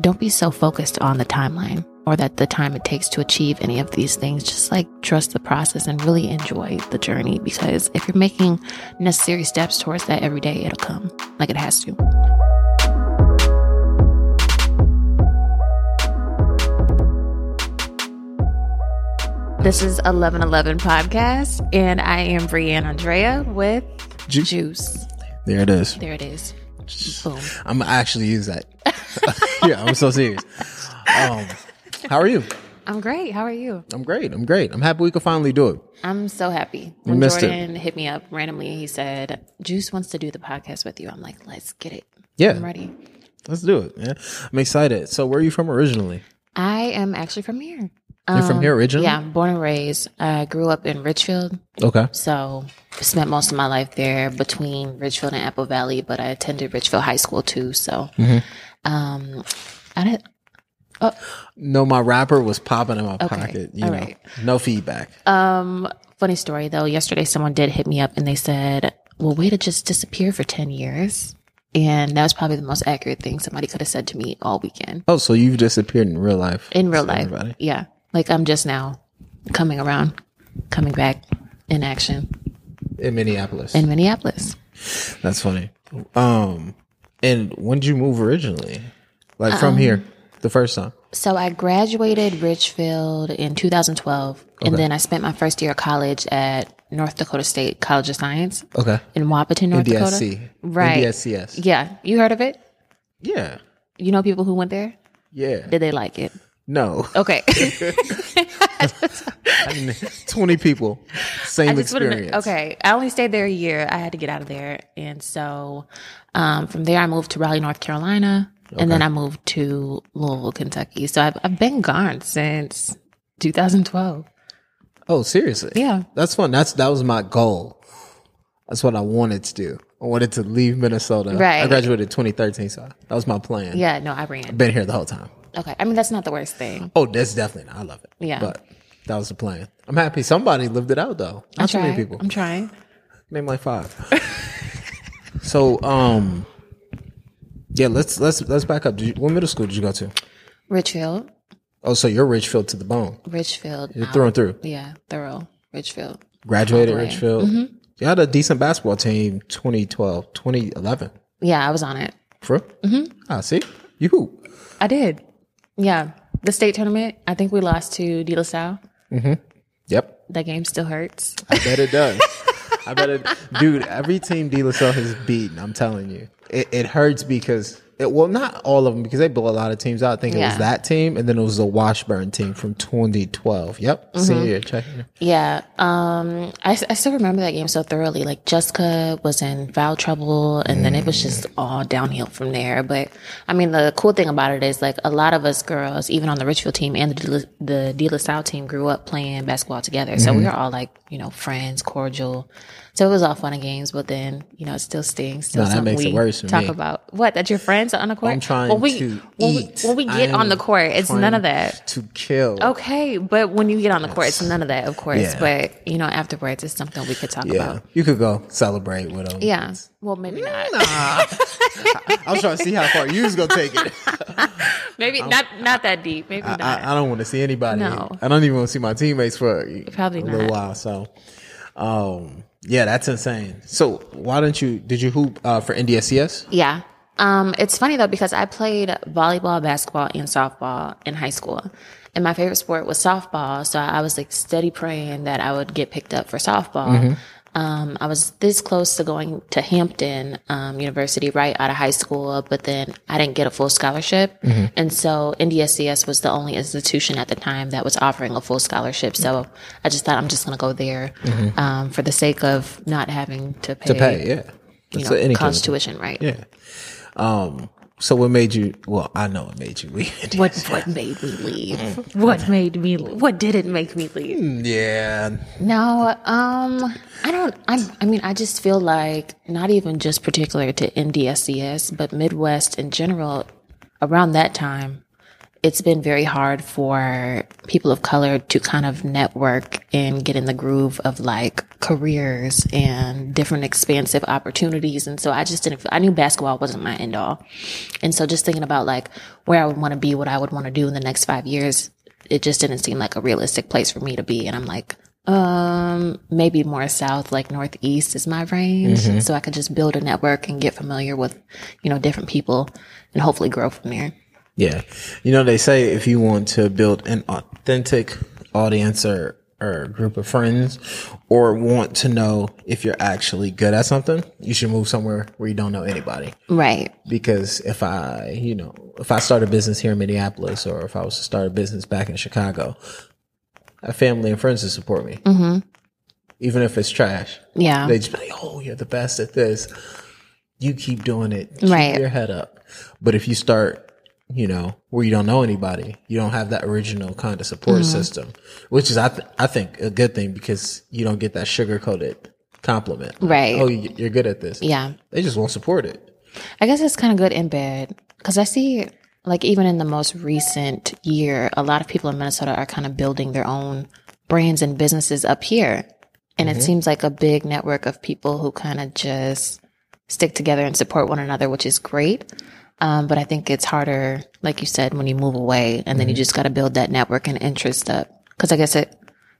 don't be so focused on the timeline or that the time it takes to achieve any of these things. Just like trust the process and really enjoy the journey because if you're making necessary steps towards that every day, it'll come like it has to. This is 1111 Podcast, and I am Brianne Andrea with Ju- Juice. There it is. There it is. Boom. I'm gonna actually use that. yeah, I'm so serious. Um, how are you? I'm great. How are you? I'm great. I'm great. I'm happy we could finally do it. I'm so happy. When missed it. Jordan hit me up randomly, he said, Juice wants to do the podcast with you. I'm like, let's get it. I'm Yeah, ready. let's do it. Man, I'm excited. So, where are you from originally? I am actually from here. You're from here originally. Um, Yeah, I'm born and raised. I grew up in Richfield, Okay. so spent most of my life there between Richfield and Apple Valley. But I attended Richfield High School too, so Mm-hmm. um, I didn't. No, my rapper was popping in my pocket. You All know, right. no feedback. Um, funny story though. Yesterday, someone did hit me up and they said, "Well, way to just disappear for ten years," and that was probably the most accurate thing somebody could have said to me all weekend oh, so you've disappeared in real life? in real So life. everybody- Yeah, like I'm just now coming around, coming back in action in Minneapolis. in Minneapolis. That's funny. Um, and when did you move originally? Like Um, from here, the first time. So I graduated Richfield in 2012, and then I spent my first year of college at North Dakota State College of Science Okay. in Wapaton, North NDSC. Dakota. Right. NDSCS. Yeah, you heard of it? Yeah. You know people who went there? Yeah. Did they like it? No. Okay. I mean, 20 people. Same Just wanted to- experience. okay. I only stayed there a year. I had to get out of there. And so um, from there, I moved to Raleigh, North Carolina. And then I moved to Louisville, Kentucky. So I've, I've been gone since 2012. Oh, seriously? Yeah. That's fun. That's that was my goal. That's what I wanted to do. I wanted to leave Minnesota. Right. I graduated 2013, so that was my plan. Yeah, no, I ran. Been here the whole time. Okay. I mean, that's not the worst thing. Oh, that's definitely. I love it. Yeah. But that was the plan. I'm happy somebody lived it out though. Not too many Try. people. I'm trying. Name like five. so, um, yeah. Let's let's let's back up. Did you, what middle school did you go to? Richfield. Oh, so you're Richfield to the bone. Richfield. You're through and through. Yeah, thorough. Richfield. Graduated Richfield. Mm-hmm. You had a decent basketball team 2012, 2011. Yeah, I was on it. For real? Mm-hmm. Ah, see? You hoop. I did. Yeah. The state tournament, I think we lost to De La Salle. Yep. That game still hurts. I bet it does. I bet it. Dude, every team De La Salle has beaten, I'm telling you. It, it hurts because, it, well, not all of them, because they blow a lot of teams out. I think it Yeah. was that team, and then it was the Washburn team from 2012. Yep. Mm-hmm. Senior year. Check it. Yeah, um, I, I still remember that game so thoroughly. Like Jessica was in foul trouble, and then it Mm. was just all downhill from there. But I mean, the cool thing about it is like a lot of us girls, even on the Richfield team and the De La- the De La Salle team, grew up playing basketball together. So Mm-hmm. we were all like you know friends, cordial. So it was all fun and games. But then you know it still stings. Still No, that something makes it we worse for Talk me. about what that your friends are on the court. I'm trying when we, to when eat. We, when we I get on am the court, it's none of trying that. To kill. Okay, but when you get on the court, it's none of that, of course. Yeah. But you know, afterwards, it's something we could talk Yeah. Mm, about. You could go celebrate with them. Yeah. Well, maybe not. I was trying to see how far you was gonna take it. Maybe not. Not that deep. Maybe not. I, I don't want to see anybody. No. I don't even want to see my teammates for Probably a little not. while. So, um, yeah, that's insane. So, why didn't you? Did you hoop uh, for NDSCS? yeah. Um, it's funny though because I played volleyball, basketball, and softball in high school, and my favorite sport was softball. So I was like steady praying that I would get picked up for softball. Mm-hmm. Um, I was this close to going to Hampton um, University right out of high school, but then I didn't get a full scholarship. Mm-hmm. And so NDSCS was the only institution at the time that was offering a full scholarship. So I just thought I'm just going to go there um, for the sake of not having to pay, Mm-hmm. To pay, yeah. you That's know, a- any college kind tuition, right? of- yeah. Um. So, what made you? Well, I know it made you leave. What what made me leave? What made me? What didn't make me leave? yeah. No, um, I don't. I'm, I mean, I just feel like not even just particular to NDSCS, but Midwest in general. Around that time, it's been very hard for people of color to kind of network and get in the groove of like careers and different expansive opportunities. And so I just didn't, I knew basketball wasn't my end all. And so just thinking about like where I would want to be, what I would want to do in the next five years, it just didn't seem like a realistic place for me to be. And I'm like, um, maybe more south, like northeast is my range. And so I could just build a network and get familiar with, you know, different people and hopefully grow from there. Yeah. You know, they say if you want to build an authentic audience or, or group of friends or want to know if you're actually good at something, you should move somewhere where you don't know anybody. Right. Because if I, you know, if I start a business here in Minneapolis or if I was to start a business back in Chicago, I have family and friends to support me. Mm-hmm. Even if it's trash. Yeah. They just be like, oh, you're the best at this. You keep doing it. Keep Right. your head up. But if you start, you know, where you don't know anybody, you don't have that original kind of support Mm-hmm. system, which is, I, th- I think, a good thing because you don't get that sugar coated compliment. Like, Right. oh, you- you're good at this. yeah. They just won't support it. I guess it's kind of good and bad because I see, like, even in the most recent year, a lot of people in Minnesota are kind of building their own brands and businesses up here. And Mm-hmm. it seems like a big network of people who kind of just stick together and support one another, which is great. Um, but I think it's harder, like you said, when you move away and then you Mm-hmm. just got to build that network and interest up. Because I guess it,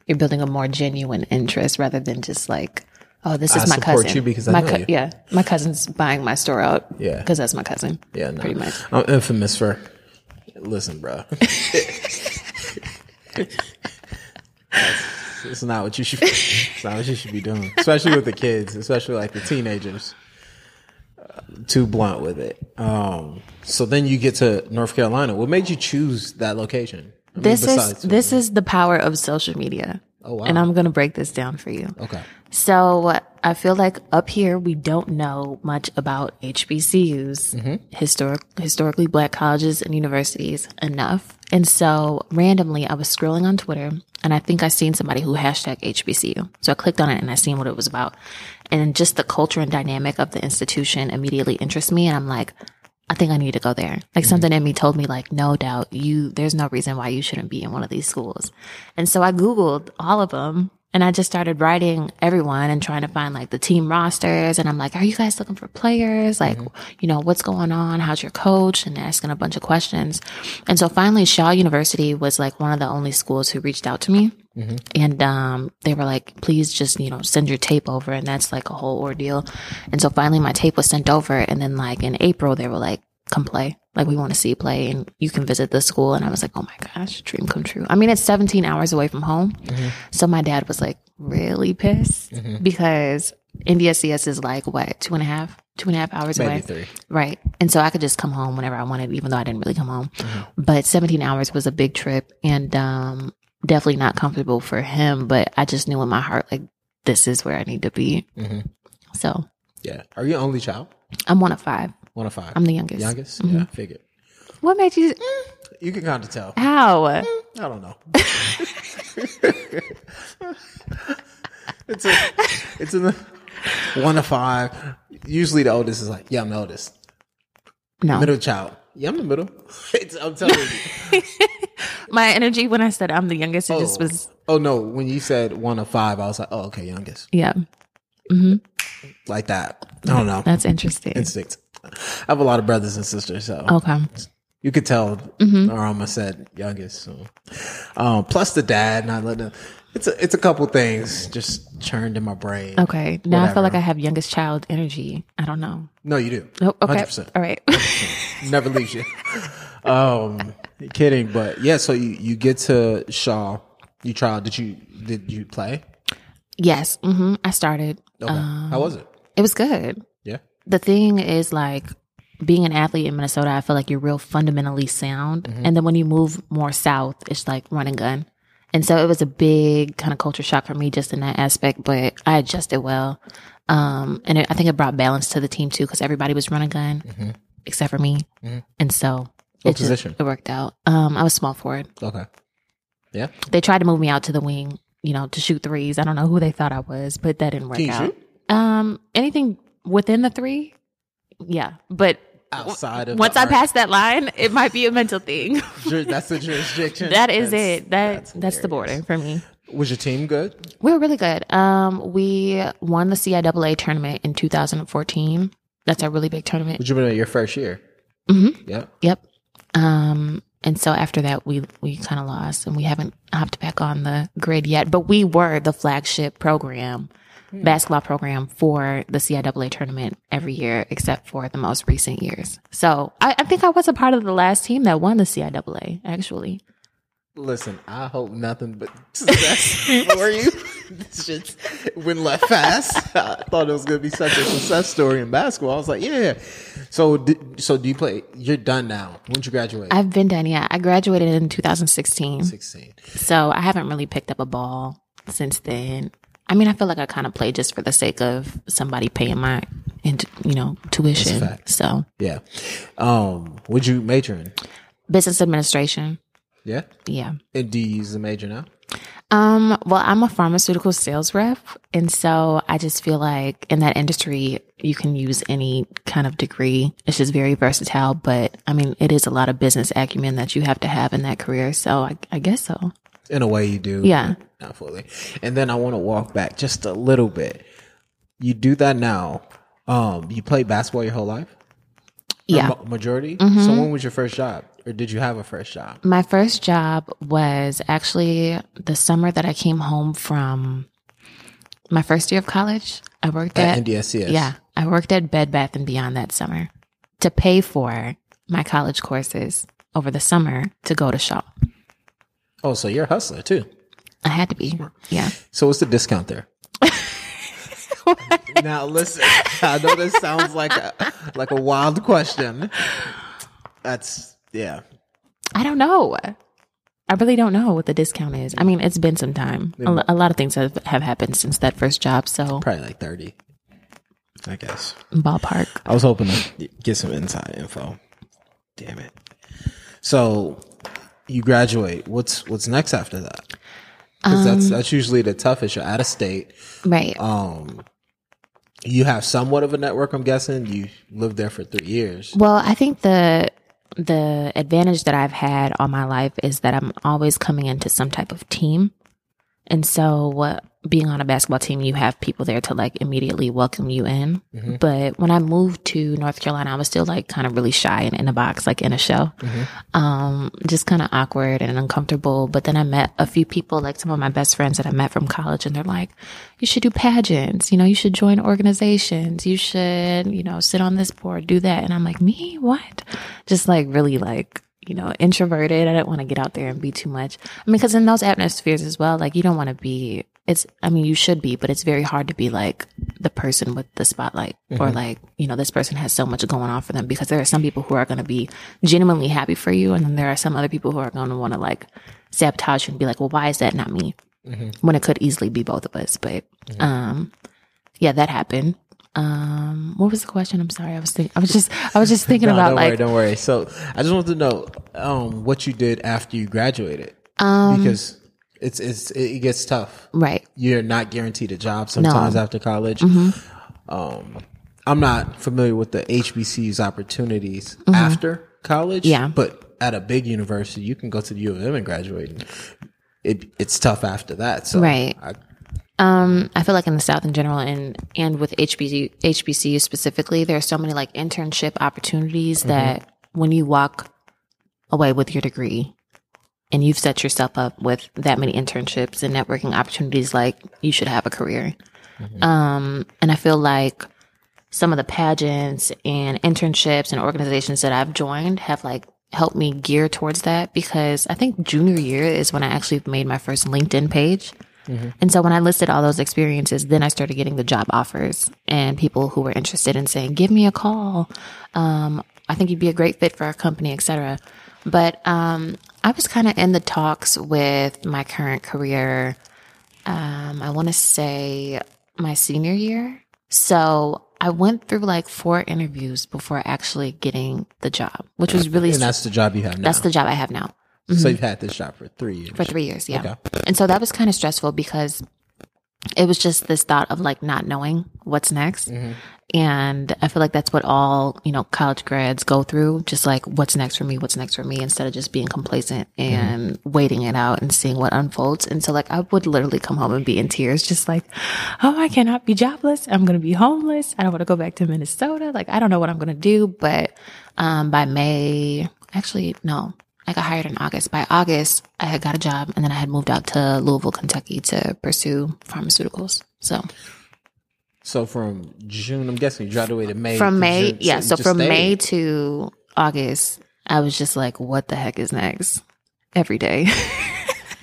you're building a more genuine interest rather than just like, oh, this is I my support cousin. you because I my know you. yeah, my cousin's buying my store out. Yeah. because that's my cousin. Yeah, no. pretty much. I'm infamous for. Listen, bro. That's- It's not what you should. It's not what you should be doing, especially with the kids, especially like the teenagers. Uh, Too blunt with it. Um, so then you get to North Carolina. What made you choose that location? I mean, This is besides- this is the power of social media. Oh, wow. And I'm gonna break this down for you. okay. So I feel like up here we don't know much about HBCUs, Mm-hmm. historic historically black colleges and universities enough. And so randomly I was scrolling on Twitter and I think I seen somebody who hashtag HBCU. So I clicked on it and I seen what it was about. And just the culture and dynamic of the institution immediately interests me and I'm like, I think I need to go there. Like something in me told me like, no doubt you, there's no reason why you shouldn't be in one of these schools. And so I Googled all of them and I just started writing everyone and trying to find like the team rosters. And I'm like, are you guys looking for players? Like, you know, what's going on? How's your coach? And asking a bunch of questions. And so finally Shaw University was like one of the only schools who reached out to me. And um, they were like, please just, you know, send your tape over. And that's like a whole ordeal. And so finally my tape was sent over. And then like in April, they were like, come play. Like we want to see you play and you can visit the school. And I was like, oh my gosh, dream come true. I mean, it's 17 hours away from home. So my dad was like really pissed because NDSCS is like what, two and a half, two and a half hours away? Maybe three. Right. And so I could just come home whenever I wanted, even though I didn't really come home. Mm-hmm. But 17 hours was a big trip and um, definitely not comfortable for him. But I just knew in my heart, like, this is where I need to be. Mhm. So Yeah. Are you only child? I'm one of five. One of five. I'm Mm-hmm. the youngest. youngest. Yeah. I figured. What made you? You can kind of tell. How? I don't know. it's a, it's in the one of five. Usually the oldest is like, yeah, I'm the oldest. No. Middle child. Yeah, I'm the middle. It's, I'm telling you. My energy when I said I'm the youngest, it just was, Oh no, when you said one of five, I was like, oh okay, youngest. yeah, Like that. I don't know. that's interesting. Instinct. I have a lot of brothers and sisters, so okay. you could tell Mm-hmm. or almost said youngest. So. Um, plus the dad not letting it's a, it's a couple things just churned in my brain. Okay. Now I feel Whatever. like I have youngest child energy. I don't know. No, you do. Nope. Oh, Okay. 100%. All right. never leaves you. Um, kidding, but yeah. So you, you get to Shaw. You tried. Did you did you play? yes. hmm I started. Okay. How was it? It was good. Yeah. the thing is like being an athlete in Minnesota, I feel like you're real fundamentally sound. Mm-hmm. And then when you move more south, it's like run and gun. And so it was a big kind of culture shock for me just in that aspect, but I adjusted well. Um, and it, I think it brought balance to the team too, because everybody was run and gun except for me. And so Mm-hmm. What it, just- position? it worked out. Um, I was small forward. Okay. Yeah. They tried to move me out to the wing, you know, to shoot threes. I don't know who they thought I was, but that didn't work Can you out. shoot? Um, anything within the three, yeah, but outside of Once the I art pass that line, it might be a mental thing. jur- that's the jurisdiction. that is That's- it. That that's, the hilarious. border for me. Was your team good? We were really good. Um, we won the CIAA tournament in 2014. That's a really big tournament. Would you been your first year? Mm-hmm. Yeah. Yep. Um, and so after that, we we kind of lost, and we haven't hopped back on the grid yet. But we were the flagship program, basketball program for the CIAA tournament every year, except for the most recent years. So I, I think I was a part of the last team that won the CIAA. Actually, Listen, I hope nothing but success for you. It's just went left fast. I thought it was going to be such a success story in basketball. I was like, yeah. So, d- so do you play? You're done now. When did you graduate? I've been done. Yeah, I graduated in 2016. 16. So I haven't really picked up a ball since then. I mean, I feel like I kind of play just for the sake of somebody paying my, and you know, tuition. fact. So Yeah. Um, would you major in? business administration, Yeah. yeah. And do you use the major now? Um, well, I'm a pharmaceutical sales rep, and so I just feel like in that industry, you can use any kind of degree. It's just very versatile. But I mean, it is a lot of business acumen that you have to have in that career. So I, I guess so. In a way, you do. Yeah. but Not fully. And then I want to walk back just a little bit. You do that now. Um, you played basketball your whole life? Or Yeah. Mm-hmm. ma- majority? So when was your first job? Or did you have a first job? My first job was actually the summer that I came home from my first year of college. I worked at, At NDSCS? yeah, I worked at Bed Bath and Beyond that summer to pay for my college courses over the summer to go to Shaw. Oh, so you're a hustler too. I had to be, yeah. So what's the discount there? now listen, I know this sounds like a like a wild question. That's yeah. I don't know. I really don't know what the discount is. I mean, it's been some time. A, lo- a lot of things have, have happened since that first job, so Probably like thirty. I guess. ballpark. I was hoping to get some inside info. Damn it. So you graduate. What's what's next after that? Because that's Um, that's usually the toughest. You're out of state. Right. Um, you have somewhat of a network. I'm guessing you lived there for three years. Well, I think the the advantage that I've had all my life is that I'm always coming into some type of team. And so uh, being on a basketball team, you have people there to like immediately welcome you in. But when I moved to North Carolina, I was still like kind of really shy and in a box, like in a shell, um, just kind of awkward and uncomfortable. But then I met a few people, like some of my best friends that I met from college, and they're like, you should do pageants, you know, you should join organizations, you should, you know, sit on this board, do that. And I'm like, me? What? Just like really like, you know, introverted. I don't want to get out there and be too much. I mean, because in those atmospheres as well, like you don't want to be. It's. I mean, you should be, but it's very hard to be like the person with the spotlight, Mm-hmm. or like you know, this person has so much going on for them because there are some people who are going to be genuinely happy for you, and then there are some other people who are going to want to like sabotage you and be like, well, why is that not me? Mm-hmm. When it could easily be both of us, but um, yeah, that happened. Um, what was the question? I'm sorry, I was thinking. I was just. I was just thinking No, about don't like worry, don't worry. So I just want to know um, what you did after you graduated, Um, because it's it's it gets tough. right. You're not guaranteed a job sometimes after college. Mm-hmm. Um, I'm not familiar with the HBCU's opportunities after college. Mm-hmm. Yeah. but at a big university, you can go to the U of M and graduate. and It it's tough after that. So Right. I, Um, I feel like in the South in general, and and with HBCU, HBCU specifically, there are so many like internship opportunities that when you walk away with your degree, and you've set yourself up with that many internships and networking opportunities, like you should have a career. Um, and I feel like some of the pageants and internships and organizations that I've joined have like helped me gear towards that because I think junior year is when I actually made my first LinkedIn page. And so when I listed all those experiences, then I started getting the job offers and people who were interested in saying, "Give me a call. Um, I think you'd be a great fit for our company, etc." But um, I was kind of in the talks with my current career um, I want to say my senior year. So I went through like four interviews before actually getting the job, which was really and that's the job you have now. that's the job I have now so you've had this job for three years. for three years. Yeah, Okay. and so that was kind of stressful because it was just this thought of like not knowing what's next. And I feel like that's what all, you know, college grads go through. Just like, what's next for me? What's next for me? Instead of just being complacent and waiting it out and seeing what unfolds. And so, like, I would literally come home and be in tears, just like, oh, I cannot be jobless. I'm going to be homeless. I don't want to go back to Minnesota. Like, I don't know what I'm going to do. But um, by May, actually, no, I got hired in August. By August, I had got a job and then I had moved out to Louisville, Kentucky to pursue pharmaceuticals. So So from June, I'm guessing you dropped away to May. from to May, June, yeah. you So just from May stayed. to August, I was just like, what the heck is next? Every day.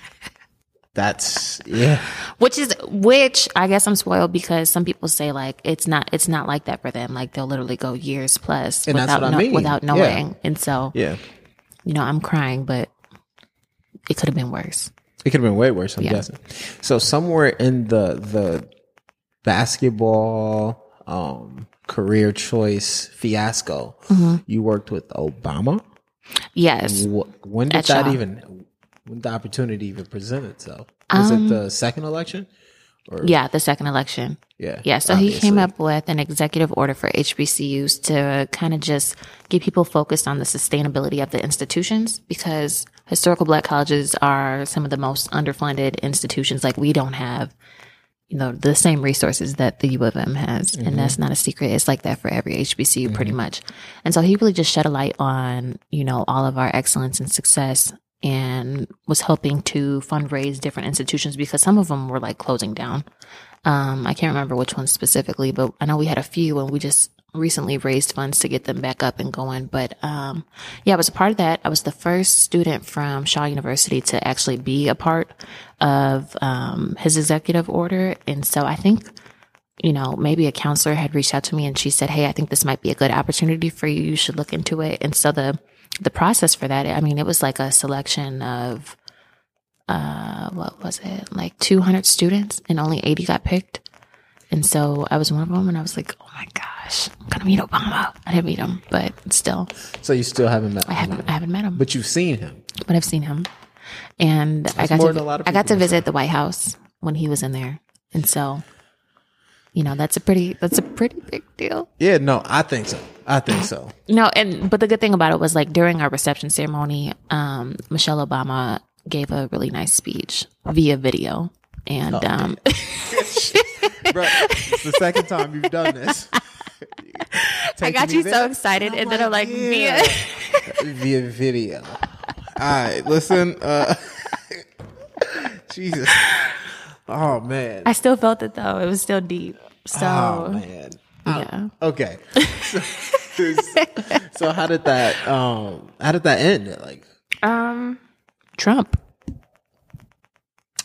that's yeah. which is which I guess I'm spoiled because some people say like it's not it's not like that for them. Like they'll literally go years plus And that's without what I know- mean. without Yeah. knowing. And so, Yeah. you know, I'm crying, but it could have been worse. It could have been way worse, I'm guessing. So somewhere in the the basketball um career choice fiasco, Mm-hmm. you worked with Obama. Yes. Wh- When did At that Shaw. even when did the opportunity even present itself? Was it Um, the second election? Yeah, the second election. Yeah. Yeah, so he came up with an executive order for HBCUs to kind of just get people focused on the sustainability of the institutions because historical black colleges are some of the most underfunded institutions. Like, we don't have, you know, the same resources that the U of M has. And that's not a secret. It's like that for every HBCU pretty much. And so he really just shed a light on, you know, all of our excellence and success and was helping to fundraise different institutions because some of them were like closing down. Um, I can't remember which one specifically, but I know we had a few and we just recently raised funds to get them back up and going. But um, yeah, I was a part of that. I was the first student from Shaw University to actually be a part of um, his executive order. And so I think you know, maybe a counselor had reached out to me and she said, "Hey, I think this might be a good opportunity for you. You should look into it." And so the the process for that, I mean, it was like a selection of uh what was it? Like 200 students and only 80 got picked. And so I was one of them and I was like, "Oh my gosh, I'm going to meet Obama." I didn't meet him, but still So you still haven't met I haven't I haven't met him, but you've seen him. but I've seen him. And I got more to than a lot of I got people to visit the White House when he was in there. And so you know, that's a pretty that's a pretty big deal. Yeah, no, I think so. I think so. No, and but the good thing about it was like during our reception ceremony, um, Michelle Obama gave a really nice speech via video, and Oh. um, Bro, it's the second time you've done this. I got you so excited, and then I'm like, Mia. via video. All right, listen. Uh, Jesus. Oh man. I still felt it though; it was still deep. So Oh man. yeah, Okay. So, so how did that? Um, how did that end? Like, um, Trump.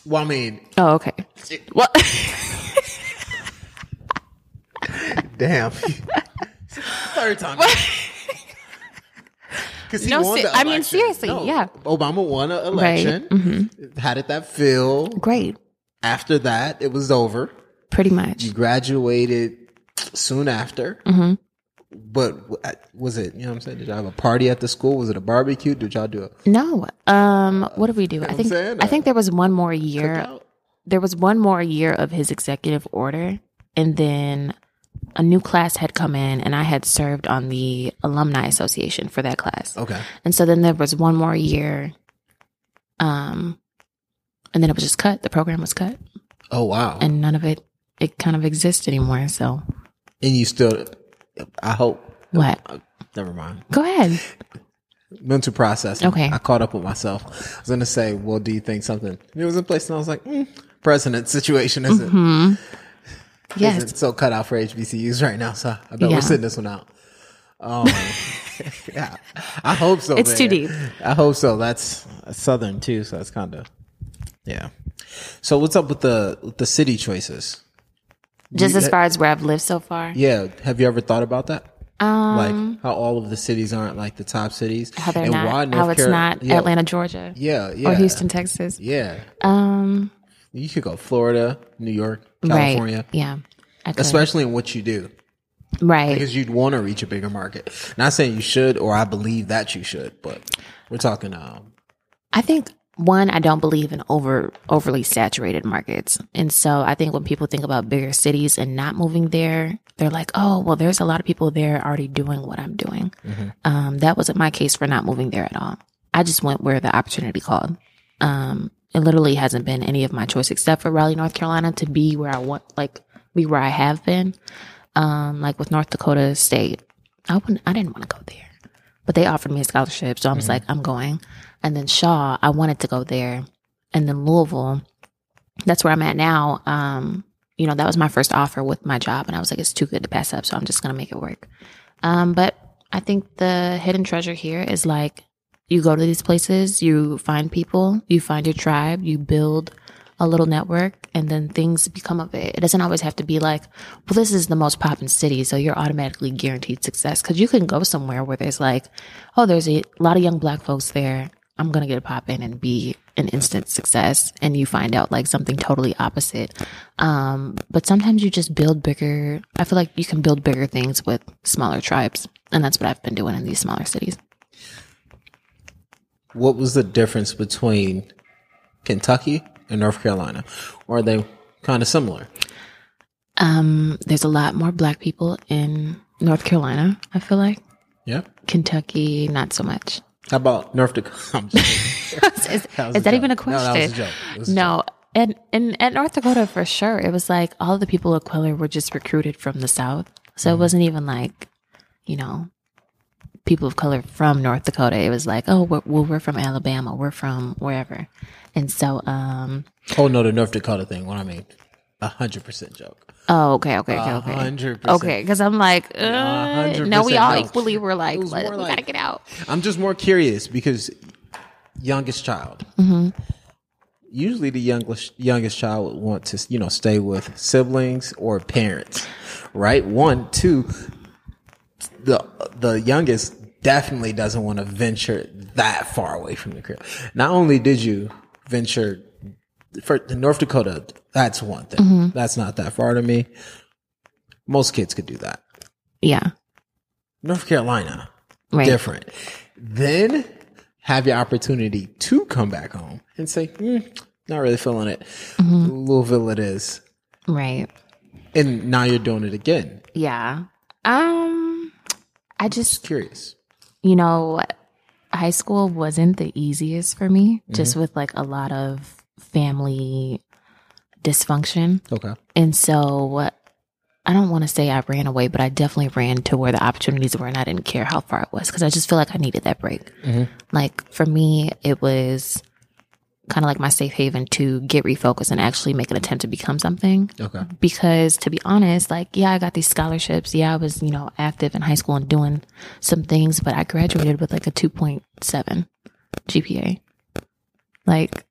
well, I mean, Oh, okay. Well, damn. Third time. Because he No, won se- the I mean, election. seriously, yeah. mm-hmm. Obama won an election. How did that feel? great, After that, it was over. pretty much. You graduated soon after. But w- I- was it, you know what I'm saying? Did y'all have a party at the school? Was it a barbecue? Did y'all do a No, um, what did we do? I think saying? I think there was one more year. cookout? there was one more year of his executive order and then a new class had come in and I had served on the alumni association for that class. Okay. And so then there was one more year um and then it was just cut. The program was cut Oh, wow. And, and none of it it kind of exists anymore. So you still, I hope, what? never mind. Go ahead. Mental processing. Okay. I caught up with myself. I was going to say, well, do you think something? It was in place, and I was like, mm, president situation isn't, Mm-hmm. Yes. isn't so cut out for HBCUs right now. So I bet Yeah. we're sitting this one out. Um, yeah, I hope so. It's too man. deep. I hope so. That's southern too, so that's kind of yeah. So what's up with the with the city choices? Just as far as where I've lived so far. Yeah, have you ever thought about that? Um, like how all of the cities aren't like the top cities, How they're and not why North how it's Cari- not yeah, Atlanta, Georgia. yeah, yeah, Or Houston, Texas. yeah. Um You could go Florida, New York, California, right. Yeah. I could. especially in what you do. right. because you'd want to reach a bigger market. Not saying you should, or I believe that you should, but we're talking um, I think one, I don't believe in over overly saturated markets. And so I think when people think about bigger cities and not moving there, they're like, oh, well, there's a lot of people there already doing what I'm doing. Um, that wasn't my case for not moving there at all. I just went where the opportunity called. Um, it literally hasn't been any of my choice except for Raleigh, North Carolina to be where I want, like be where I have been. Um, like with North Dakota State, I wouldn't, I didn't want to go there but they offered me a scholarship. So I was like, I'm going. And then Shaw, I wanted to go there. And then Louisville, that's where I'm at now. Um, you know, that was my first offer with my job. And I was like, it's too good to pass up. So I'm just going to make it work. Um, but I think the hidden treasure here is like you go to these places, you find people, you find your tribe, you build a little network, and then things become of it. It doesn't always have to be like, well, this is the most poppin' city, so you're automatically guaranteed success. Cause you can go somewhere where there's like, oh, there's a lot of young black folks there. I'm gonna get a pop in and be an instant success. And you find out like something totally opposite. Um, but sometimes you just build bigger, I feel like you can build bigger things with smaller tribes. And that's what I've been doing in these smaller cities. What was the difference between Kentucky and North Carolina? Or are they kind of similar? Um, there's a lot more black people in North Carolina, I feel like. Yeah. Kentucky, not so much. How about North Dakota? I'm just kidding. is is was that, a joke. even a No, that question? was a joke. It was a No. And, and at North Dakota, for sure, it was like all the people of color were just recruited from the South. So Mm-hmm. it wasn't even like, you know, people of color from North Dakota. It was like, oh, we're, well, we're from Alabama. We're from wherever. And so, um, oh no, the North Dakota thing. What I mean, a hundred percent joke. oh, okay, okay, okay, A okay. hundred percent. Okay, because I'm like, Yeah, uh, no, we 100% all no. equally were like, was "Let- more we like- gotta get out. I'm just more curious because youngest child. Usually, the youngest youngest child would want to you know stay with siblings or parents, right? One, two. The the youngest definitely doesn't want to venture that far away from the crib. Not only did you venture for the North Dakota, that's one thing. That's not that far to me. Most kids could do that. Yeah, North Carolina, right. different. Then have your opportunity to come back home and say, "Mm, not really feeling it. Mm-hmm. Louisville it is. Right. And now you're doing it again. Yeah. Um, I just, Curious. you know, high school wasn't the easiest for me, just with like a lot of family dysfunction. Okay. And so I don't want to say I ran away, but I definitely ran to where the opportunities were and I didn't care how far it was because I just feel like I needed that break. Like for me, it was kind of like my safe haven to get refocused and actually make an attempt to become something Okay. because to be honest, like, yeah, I got these scholarships. Yeah, I was, you know, active in high school and doing some things, but I graduated with like a 2.7 GPA. Like,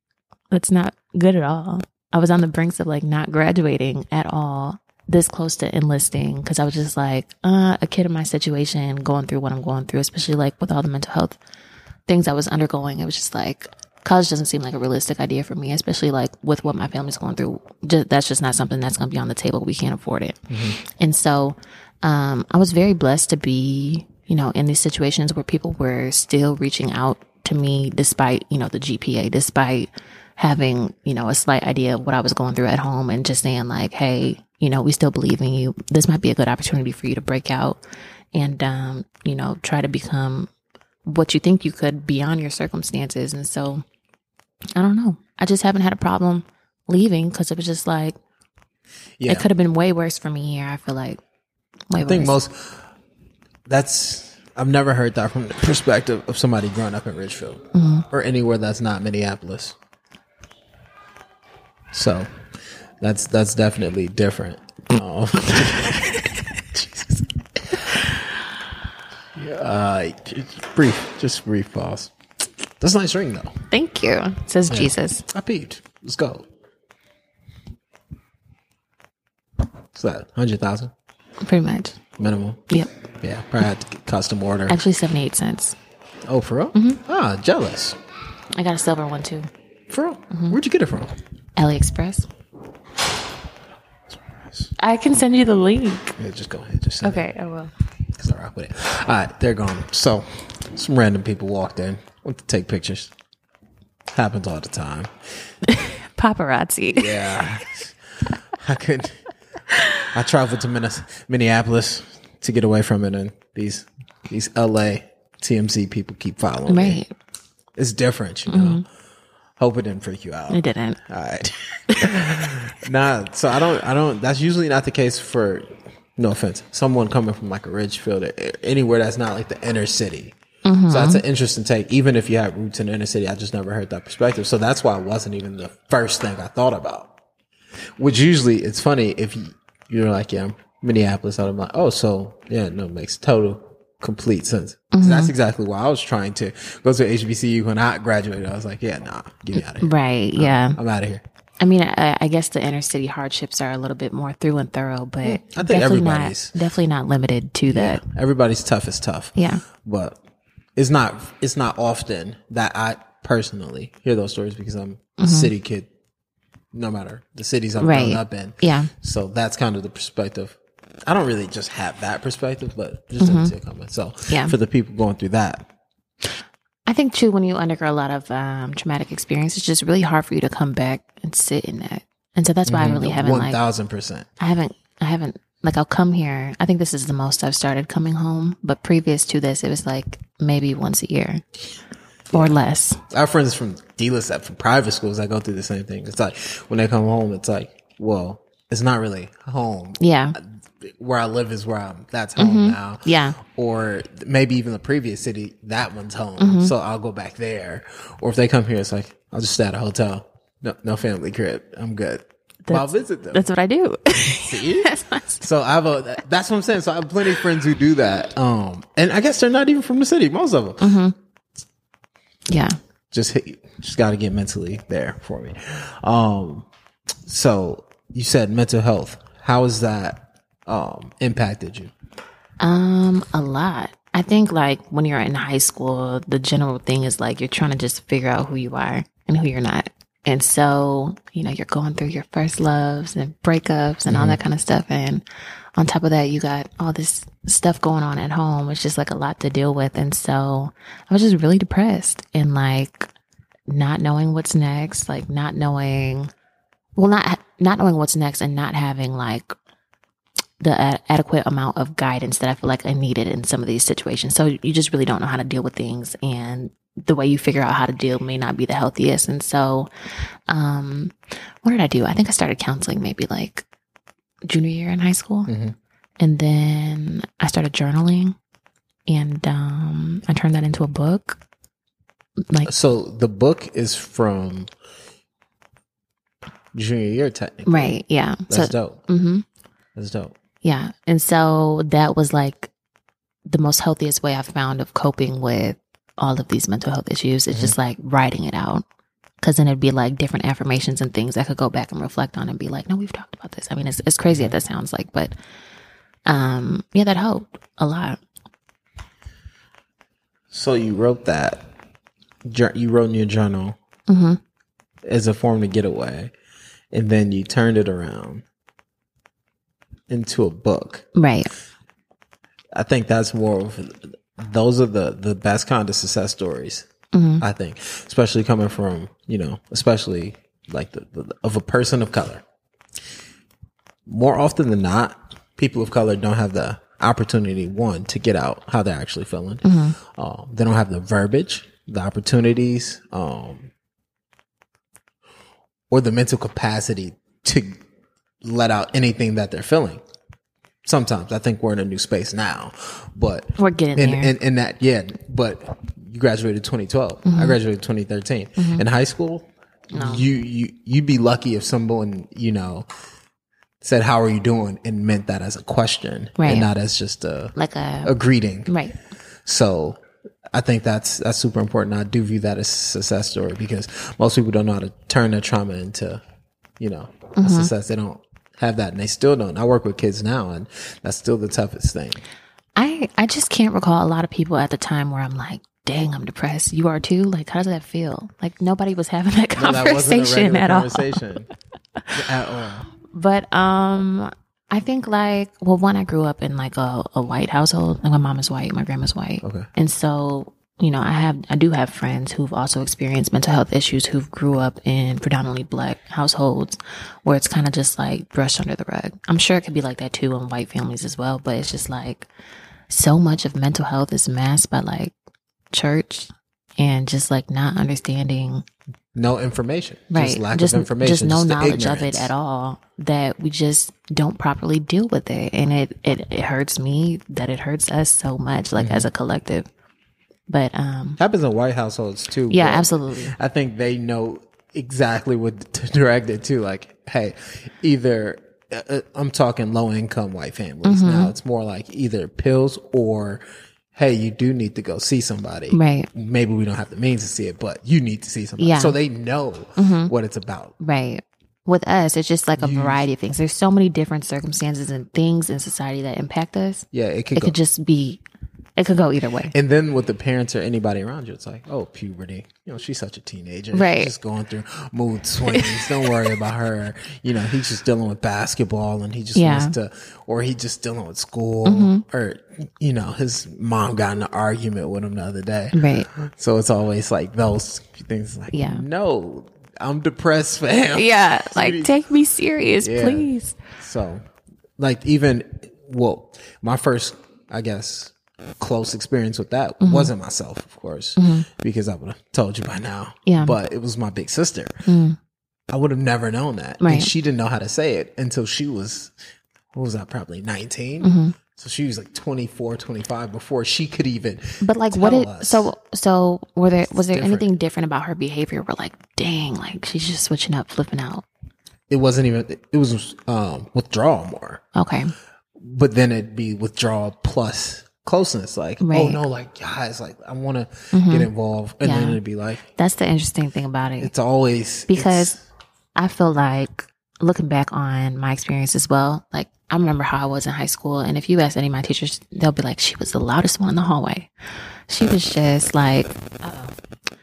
that's not good at all. I was on the brinks of like not graduating at all, this close to enlisting, because I was just like, uh, a kid in my situation going through what I'm going through, especially like with all the mental health things I was undergoing, it was just like college doesn't seem like a realistic idea for me, especially like with what my family's going through. Ju- that's just not something that's going to be on the table. We can't afford it. And so, um, I was very blessed to be, you know, in these situations where people were still reaching out to me despite, you know, the GPA, despite having, you know, a slight idea of what I was going through at home and just saying like, Hey, you know, we still believe in you. This might be a good opportunity for you to break out and, um, you know, try to become what you think you could beyond your circumstances. And so I don't know. I just haven't had a problem leaving because it was just like, Yeah. it could have been way worse for me here. I feel like way I think worse. most that's I've never heard that from the perspective of somebody growing up in Ridgefield or anywhere that's not Minneapolis. So that's that's definitely different. Um, Jesus. Yeah, uh, just brief, just brief pause. That's a nice ring though. Thank you, says Jesus. I peeped. Let's go. What's that? Hundred thousand Pretty much. minimum. Yep. Yeah, probably had to get custom order. Actually, 78 cents. Oh, for real? Ah, jealous. I got a silver one too. For real? Where'd you get it from? AliExpress. I can send you the link. Yeah, just go ahead. Just send it, Okay, I will. 'cause I rock with it. All right, they're gone. So, some random people walked in, went to take pictures. Happens all the time. Paparazzi. Yeah. I could. I traveled to Minnes- Minneapolis to get away from it, and these these LA TMZ people keep following me. Right. It's different, you know. Hope it didn't freak you out. I didn't. All right. nah, so I don't, I don't, that's usually not the case for, no offense, someone coming from like a Ridgefield or anywhere that's not like the inner city. So that's an interesting take. Even if you have roots in the inner city, I just never heard that perspective. So that's why it wasn't even the first thing I thought about. Which usually, it's funny if you, you're like, yeah, I'm Minneapolis, I'm like, oh, so yeah, no, it makes total, complete sense. 'Cause That's exactly why I was trying to go to HBCU when I graduated. I was like, yeah, nah, get me out of here. Right. Yeah. I'm out of here. I mean, I, I guess the inner city hardships are a little bit more through and thorough, but think definitely everybody's. not definitely not limited to that. everybody's tough is tough. Yeah. But it's not it's not often that I personally hear those stories because I'm a city kid, no matter the cities I'm Mm-hmm. Right. grown up in. Yeah. So that's kind of the perspective. I don't really just have that perspective, but just to comment. So Mm-hmm. Yeah. for the people going through that, I think too when you undergo a lot of um, traumatic experience, it's just really hard for you to come back and sit in that. And so that's why I really haven't Mm-hmm. one like thousand percent. I haven't I haven't like I'll come here. I think this is the most I've started coming home, but previous to this, it was like maybe once a year or less. Our friends from D list that from private schools that go through the same thing. It's like when they come home, it's like, well, it's not really home. Yeah, Where I live is where I'm. That's home now. Mm-hmm. yeah, or maybe even the previous city, that one's home. Mm-hmm. So I'll go back there. Or if they come here, it's like, I'll just stay at a hotel. No, no family crib. I'm good. But I'll visit them. that's what I do. See? That's what I s- so I have a, that's what I'm saying. So I have plenty of friends who do that. Um, and I guess they're not even from the city, most of them. Mm-hmm. yeah, Just hit, just got to get mentally there for me. Um, so you said mental health. How has that, um, impacted you? um, a lot. I think like when you're in high school, the general thing is like you're trying to just figure out who you are and who you're not. And so, you know, you're going through your first loves and breakups and all that kind of stuff. And on top of that, you got all this stuff going on at home. It's just like a lot to deal with. And so I was just really depressed and like not knowing what's next, like not knowing, well, not, not knowing what's next and not having like the ad- adequate amount of guidance that I feel like I needed in some of these situations. So you just really don't know how to deal with things and the way you figure out how to deal may not be the healthiest. And so, um, what did I do? I think I started counseling maybe like junior year in high school. Mhm. And then I started journaling and, um, I turned that into a book. Like, So the book is from junior year, technically. right. Yeah. That's so, dope. hmm That's dope. Yeah. And so that was like the most healthiest way I've found of coping with all of these mental health issues. It's just like writing it out. Cause then it'd be like different affirmations and things I could go back and reflect on and be like, no, we've talked about this. I mean, it's, it's crazy that that sounds like, but um, yeah, that helped a lot. So you wrote that. jour- You wrote in your journal Mhm. as a form to get away, and then you turned it around into a book. Right. I think that's more of those are the the best kind of success stories. Mm-hmm. I think, especially coming from you know, especially like the, the of a person of color. More often than not, people of color don't have the opportunity one to get out how they're actually feeling. Um, they don't have the verbiage, the opportunities, um, or the mental capacity to let out anything that they're feeling. Sometimes I think we're in a new space now, but We're getting in, there. in, in that yeah but you graduated 2012 i graduated 2013 in high school you you you'd be lucky if someone you know said how are you doing and meant that as a question Right. and not as just a like a, a greeting right. so i think that's that's super important i do view that as a success story because most people don't know how to turn their trauma into you know a success they don't have that and they still don't i work with kids now and that's still the toughest thing I, I just can't recall a lot of people at the time where I'm like, dang, I'm depressed. You are too. Like, how does that feel? Like nobody was having that conversation at all. conversation at all. But um I think like well one I grew up in like a, a white household. Like my mom is white, my grandma's white. Okay. And so you know, I have I do have friends who've also experienced mental health issues who've grew up in predominantly black households where it's kind of just like brushed under the rug. I'm sure it could be like that too in white families as well, but it's just like so much of mental health is masked by like church and just like not understanding No information. right Just lack of information. just no the knowledge of ignorance. it at all that we just don't properly deal with it and it it, it hurts me that it hurts us so much Mm-hmm. like as a collective but um Happens in white households too. yeah but absolutely I think they know exactly what to direct it to. Like, hey, either uh, uh, I'm talking low income white families Mm-hmm. now. It's more like either pills or, hey, you do need to go see somebody. right Maybe we don't have the means to see it, but you need to see somebody. Yeah. Mm-hmm. So they know what it's about. right with us it's just like a variety of things there's so many different circumstances and things in society that impact us Yeah, it could it go. could just be it could go either way and then with the parents or anybody around you, it's like, oh, puberty. You know, she's such a teenager. Right. She's just going through mood swings. Don't worry about her. You know, he's just dealing with basketball and he just Yeah. Mm-hmm. wants to, or he just dealing with school. Or, you know, his mom got in an argument with him the other day. right So it's always like those things like, Yeah. no, I'm depressed, fam. yeah like take me serious Yeah. please So, like, even well, my first, I guess, close experience with that Mm-hmm. wasn't myself, of course, because I would have told you by now. Yeah. Mm. But it was my big sister. I would have never known that. Right. And she didn't know how to say it until she was, what was that, probably 19? Mm-hmm. So she was like 24, 25 before she could even. But like, what tell did us. so so? Were there was there different. anything different about her behavior? We're like, dang, like she's just switching up, flipping out. It wasn't even, it was um, withdrawal more. Okay, but then it'd be withdrawal plus closeness. Like, oh Right. Mm-hmm. no, like guys, like I want to get involved, and then Yeah. it'd be like that's the interesting thing about it it's always because it's- I feel like looking back on my experience as well. Like I remember how I was in high school, and if you ask any of my teachers, they'll be like, she was the loudest one in the hallway. She was just like, uh-oh.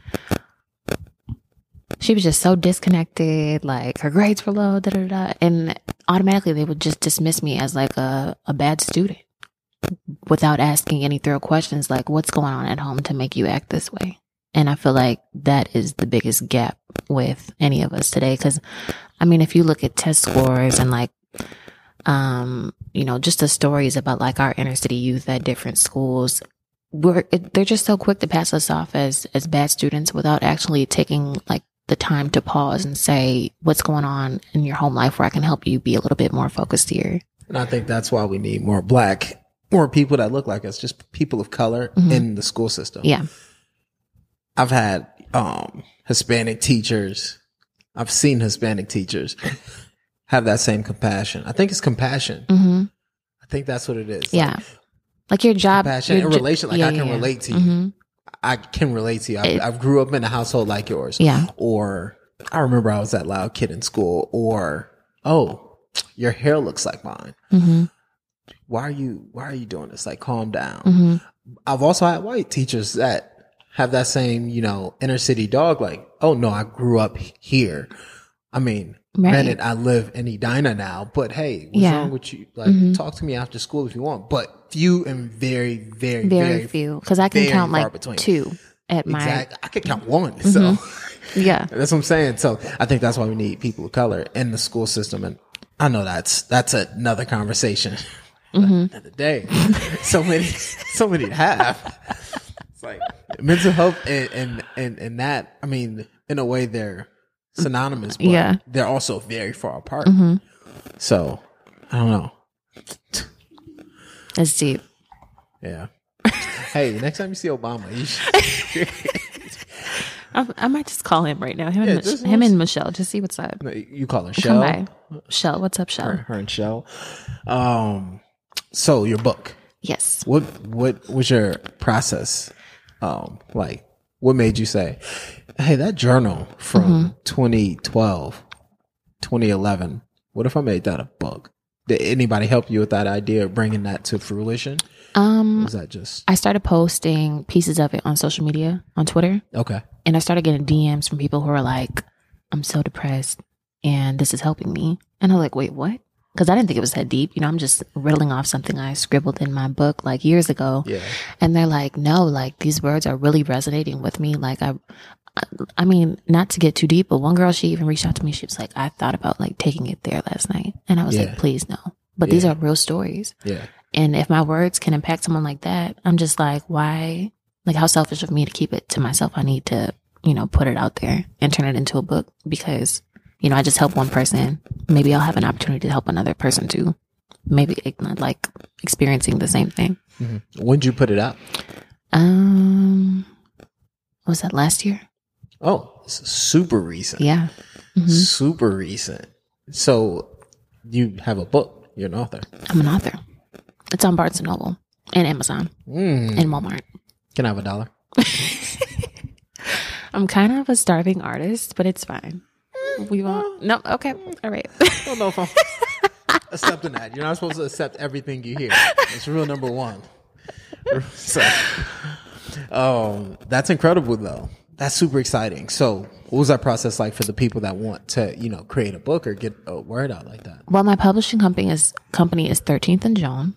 she was just so disconnected. Like her grades were low, da da da, and automatically they would just dismiss me as like a, a bad student without asking any thorough questions like what's going on at home to make you act this way and i feel like that is the biggest gap with any of us today because i mean if you look at test scores and like um you know just the stories about like our inner city youth at different schools we're it, they're just so quick to pass us off as as bad students without actually taking like the time to pause and say what's going on in your home life where i can help you be a little bit more focused here and I think that's why we need more black, more people that look like us, just people of color Mhm. in the school system. yeah I've had um Hispanic teachers. I've seen Hispanic teachers have that same compassion. I think it's compassion. mm-hmm I think that's what it is. yeah. Like your job, compassion your and jo- relation. Like, I can relate to you. Mhm. I can relate to you. I, It- I grew up in a household like yours. Yeah. Or I remember I was that loud kid in school. Or oh, your hair looks like mine. Mhm. Why are you Why are you doing this? Like, calm down. Mhm. I've also had white teachers that have that same, you know, inner city dog. Like, oh no, I grew up here. I mean, Right. granted, I live in Edina now, but hey, what's Yeah. Mm-hmm. wrong with you? Like, talk to me after school if you want, but few and very, very, Very, very, few, because I can very count far like between. two at Exactly. I could count one. Mm-hmm. So. my yeah. That's what I'm saying. So I think that's why we need people of color in the school system. And I know that's that's another conversation Mm-hmm. another day. so many, so many to have. It's like mental health and and and, and that. I mean, in a way, they're synonymous, but Yeah. Mm-hmm. they're also very far apart. So I don't know. That's deep. Yeah. hey, next time you see Obama, you should, I, I might just call him right now. Him, Yeah, and, Mich- just- him and Michelle, just see what's up. you call her Come Shell. by, Shell. What's up, Shell? Her and Shell. Um. So your book. Yes. what what was your process um like what made you say hey that journal from 2012 2011 what if i made that a book did anybody help you with that idea of bringing that to fruition Um, was that just I started posting pieces of it on social media, on Twitter, okay and I started getting DMs from people who are like, "I'm so depressed, and this is helping me," and I'm like, "Wait, what?" because I didn't think it was that deep. You know, I'm just riddling off something I scribbled in my book like years ago. Yeah. And they're like, no, like these words are really resonating with me. Like I, I, I mean, not to get too deep, but one girl, she even reached out to me. She was like, I thought about like taking it there last night. And I was Yeah. like, please no. But these Yeah. are real stories. Yeah. And if my words can impact someone like that, I'm just like, why? Like, how selfish of me to keep it to myself. I need to, you know, put it out there and turn it into a book because, you know, I just help one person. Maybe I'll have an opportunity to help another person too. Maybe like experiencing the same thing. When'd you put it out? Um, what was that last year? Oh, it's super recent. Yeah. Mhm. Super recent. So you have a book. You're an author. I'm an author. It's on Barnes and Noble and Amazon Mm. and Walmart. Can I have a dollar? I'm kind of a starving artist, but it's fine. We won't. No, okay. All right. I don't know if I'm accepting that. You're not supposed to accept everything you hear. It's rule number one. So, um, that's incredible though. That's super exciting. So, what was that process like for the people that want to, you know, create a book or get a word out like that? Well, my publishing company is company is Thirteenth and Joan.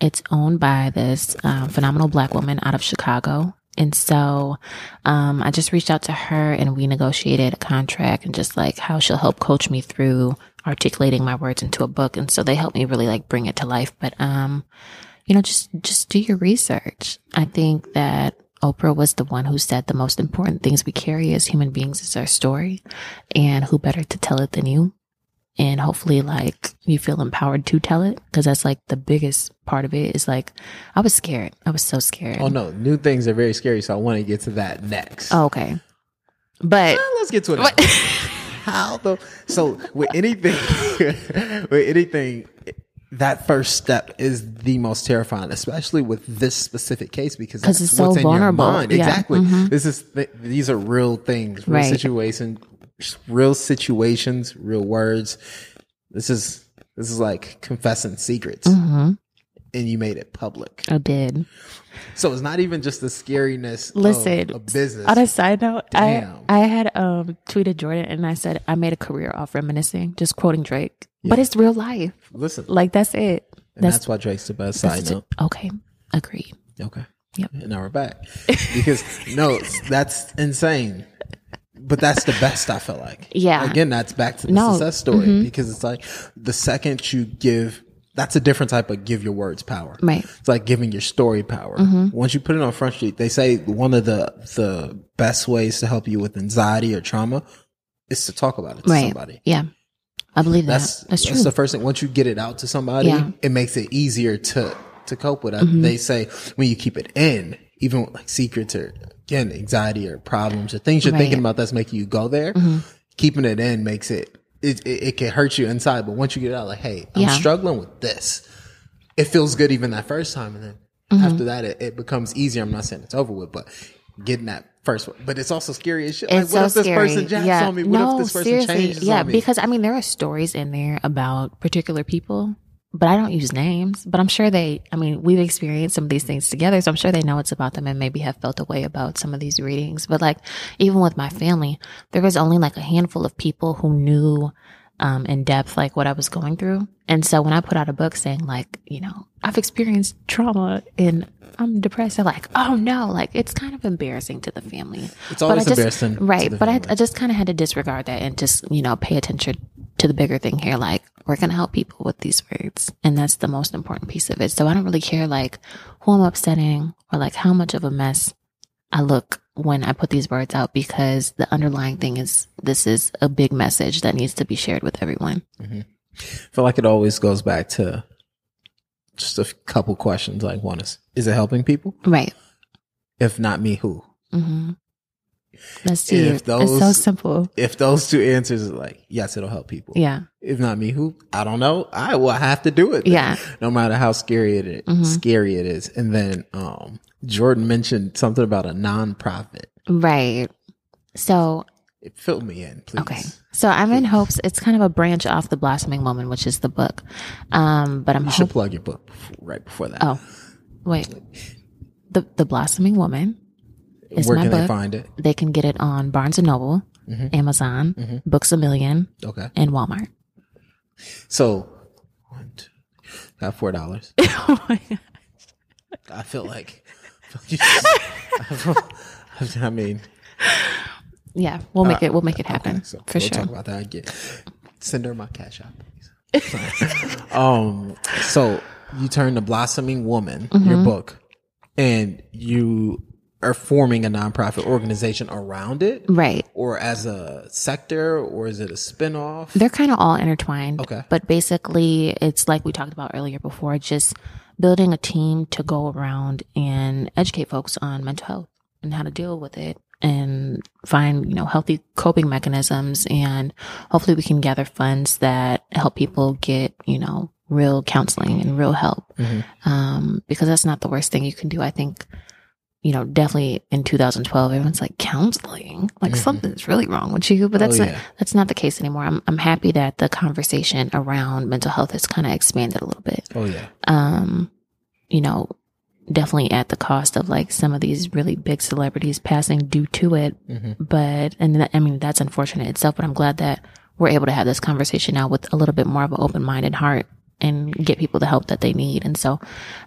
It's owned by this um, phenomenal black woman out of Chicago, and so um, I just reached out to her and we negotiated a contract and just like how she'll help coach me through articulating my words into a book, and so they helped me really like bring it to life. But um, you know, just just do your research. I think that Oprah was the one who said the most important things we carry as human beings is our story, and who better to tell it than you and hopefully like you feel empowered to tell it because that's like the biggest part of it is like i was scared i was so scared Oh oh, no, new things are very scary. So I want to get to that next. okay but Well, let's get to it. now. How the so with anything, with anything, that first step is the most terrifying, especially with this specific case because that's it's so what's in vulnerable. Your mind. Yeah. Mm-hmm. Exactly. This is th- these are real things, real Right. situation, real situations, real words. This is this is like confessing secrets, Mhm. and you made it public. i did So it's not even just the scariness. Listen, of Oh, a business. on a side note Damn. i i had um tweeted jordan and i said i made a career off reminiscing just quoting drake but it's real life Listen, like that's it and that's, that's, why Drake's the best. Side note. okay agreed Okay. Yep. And now we're back because no, that's insane. But that's the best I feel like. Yeah. Again, that's back to the No. Mm-hmm. success story because it's like the second you give, that's a different type of give your words power. Right. Mm-hmm. It's like giving your story power. Once you put it on front sheet, they say one of the the best ways to help you with anxiety or trauma is to talk about it to right somebody. yeah i believe That's that that's true the first thing. Once you get it out to somebody, Yeah. Mm-hmm. it makes it easier to to cope with. I They say when you keep it in, even with, like secrets or again anxiety or problems or things you're Right. Mm-hmm. thinking about that's making you go there. Keeping it in makes it it, it it can hurt you inside, but once you get it out, like hey, I'm Yeah. struggling with this. It feels good even that first time, and then Mm-hmm. after that, it, it becomes easier. I'm not saying it's over with, but getting that. First one, but it's also scary as shit. Like, It's what so if this scary. person jacks yeah. on me? What no, if this person seriously. changes yeah, on me? because I mean, there are stories in there about particular people, but I don't use names. But I'm sure they. I mean, we've experienced some of these things together, so I'm sure they know it's about them and maybe have felt a way about some of these readings. But like, even with my family, there was only like a handful of people who knew. Um, in depth, like what I was going through. And so when I put out a book saying, like, you know, I've experienced trauma and I'm depressed, they're like, oh no, like it's kind of embarrassing to the family It's always but I just, embarrassing to Right. the But I, family. I just kind of had to disregard that and just, you know, pay attention to the bigger thing here. Like, we're going to help people with these words. And that's the most important piece of it. So I don't really care, like, who I'm upsetting or, like, how much of a mess I look when I put these words out because the underlying thing is this is a big message that needs to be shared with everyone. feel like it always goes back to just a couple questions like one is is it helping people Right. if not me who Mm-hmm. That's it. If it's so those- simple. if those two answers are like yes it'll help people Yeah. if not me who i don't know i will have to do it then, Yeah. no matter how scary it is- Mhm. scary it is and then um jordan mentioned something about a nonprofit Right. So fill me in please Okay. So I'm in hopes it's kind of a branch off the blossoming woman, which is the book. Um, but I'm you should hoping plug your book before, right before that Oh. wait. The the blossoming woman is where my can book. they They, find it Mm-hmm. can get it on Barnes and Noble, Amazon, Books a 1000000 okay and Walmart. So One, two, three. got four dollars. oh my god. I feel like, I, feel- I mean, Yeah, we'll make it. We'll make it happen so for we'll sure. talk about that again. Send her my cash app. please. um, so you turn to Blossoming Woman, Mm-hmm. your book, and you are forming a nonprofit organization around it, Right. or as a sector, or is it a spinoff? They're kind of all intertwined. Okay. But basically, it's like we talked about earlier before, just building a team to go around and educate folks on mental health and how to deal with it and find, you know, healthy coping mechanisms. And hopefully we can gather funds that help people get, you know, real counseling and real help. Mhm. Um, because that's not the worst thing you can do. I think, you know, definitely in 2012, everyone's like counseling, like Mhm. something's really wrong with you, but that's oh, not, yeah. that's not the case anymore. I'm I'm happy that the conversation around mental health has kind of expanded a little bit. oh yeah, Um, you know, definitely at the cost of like some of these really big celebrities passing due to it. Mhm. But and that, I mean that's unfortunate itself. But I'm glad that we're able to have this conversation now with a little bit more of an open minded heart and get people the help that they need. And so,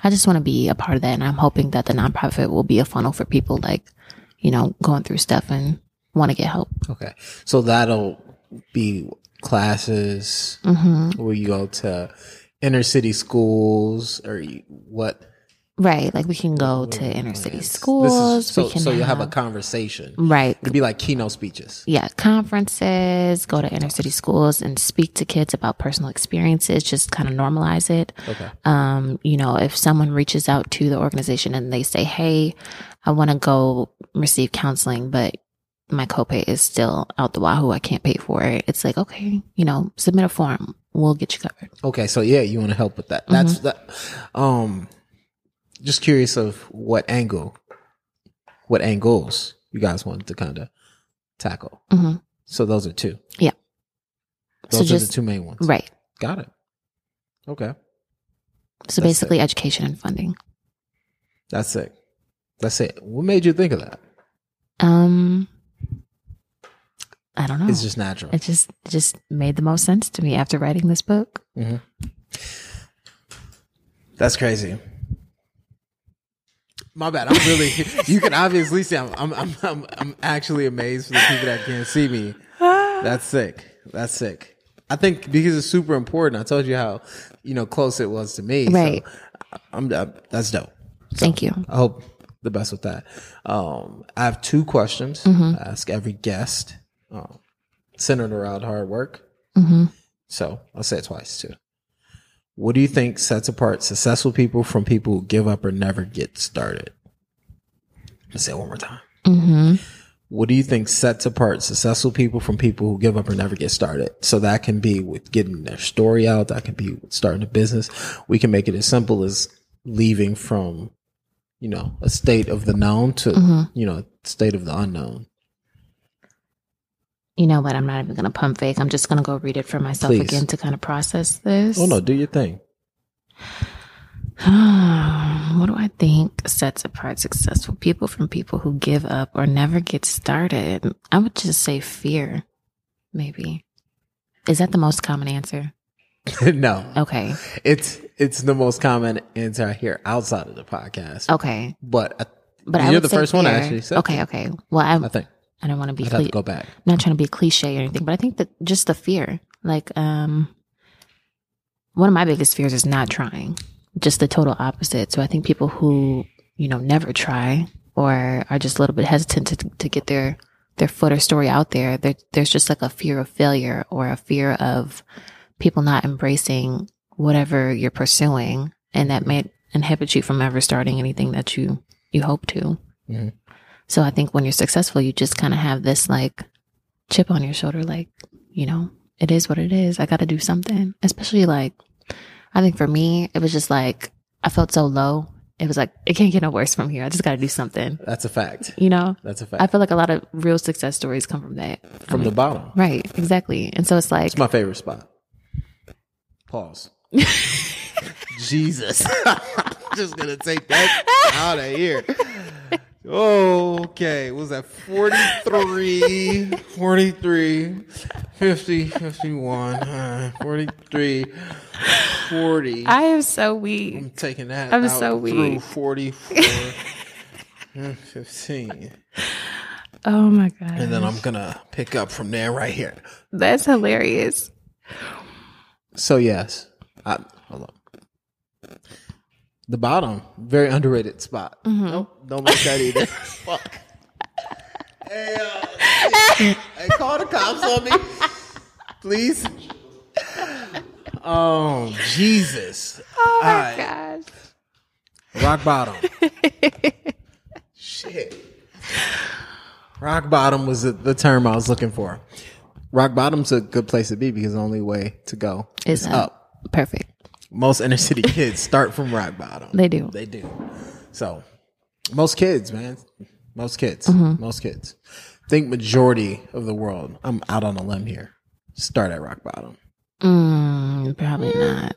I just want to be a part of that. And I'm hoping that the nonprofit will be a funnel for people like, you know, going through stuff and want to get help. Okay, so that'll be classes hmm where you go to inner city schools or you, what Right. Like we can go Oh, to inner city schools. so, we can so you'll have a conversation. right. It'd be like keynote speeches. Yeah, conferences, go to inner city schools and speak to kids about personal experiences, just kind of normalize it. Okay. Um, you know, if someone reaches out to the organization and they say, Hey, I want to go receive counseling, but my copay is still out the wahoo. I can't pay for it. It's like, okay, you know, submit a form. We'll get you covered. Okay. So yeah, you want to help with that. That's Mm-hmm. that. Um, just curious of what angle, what angles you guys wanted to kind of tackle. hmm So those are two. Yeah. So Those are just- the two main ones. Right. Got it. Okay. So That's it. basically education and funding. That's it. That's it. What made you think of that? Um, I don't know. It's just natural. it just it just made the most sense to me after writing this book. That's crazy. My bad. I'm really. you can obviously see. I'm. I'm. I'm. I'm, I'm actually amazed for the people that can't see me. That's sick. That's sick. I think because it's super important. I told you how, you know, close it was to me. Right. So I'm. I'm that's dope. Thank you. I hope the best with that. Um, I have two questions. I ask every guest, um, centered around hard work. hmm So I'll say it twice too. What do you think sets apart successful people from people who give up or never get started? Let's say it one more time. hmm What do you think sets apart successful people from people who give up or never get started? So that can be with getting their story out. That can be with starting a business. We can make it as simple as leaving from, you know, a state of the known to, Mm-hmm. you know, state of the unknown. You know what? I'm not even gonna pump fake. I'm just gonna go read it for myself Please. again to kind of process this. Oh no, do your thing. what do I think sets apart successful people from people who give up or never get started? I would just say fear. Maybe is that the most common answer? no, Okay. it's, it's the most common answer I hear outside of the podcast. Okay. But I, But I you're would the say first one I fear. actually said. Okay. Okay. Well, I, I think I don't want to be I'd have cle- to go back. I'm not trying to be a cliche or anything, but I think that just the fear, like, um, one of my biggest fears is not trying, just the total opposite. So I think people who, you know, never try or are just a little bit hesitant to, to get their, their foot or story out there, there, there's just like a fear of failure or a fear of people not embracing whatever you're pursuing. And that may inhibit you from ever starting anything that you, you hope to. Mhm. So I think when you're successful, you just kind of have this like, chip on your shoulder like you know it is what it is i gotta do something especially like i think for me it was just like i felt so low it was like it can't get no worse from here i just gotta do something That's a fact. you know That's a i fact. feel like a lot of real success stories come from that From the bottom. right exactly and so it's like It's my favorite spot. Pause. Jesus. Just gonna take that out of here. Okay, what was that 43? 43. 50, 51, uh, 43, 40. I am so weak. I'm taking that. I'm out so through weak. 44, mm, 15. Oh my god. And then I'm going to pick up from there right here. That's hilarious. So, yes. I, hold on. The bottom, very underrated spot. Mm-hmm. Nope, don't make that either. Fuck. Hey, uh, hey, hey, call the cops on me, please. Oh, Jesus. Oh my Alright. gosh. Rock bottom. Shit. Rock bottom was the, the term I was looking for. Rock bottom's a good place to be because the only way to go It's is up. Perfect. Most inner city kids start from rock bottom. They do. They do. So, most kids, man. Most kids. Mm-hmm. Most kids. Think majority of the world. I'm out on a limb here. Start at rock bottom. Mm, probably not.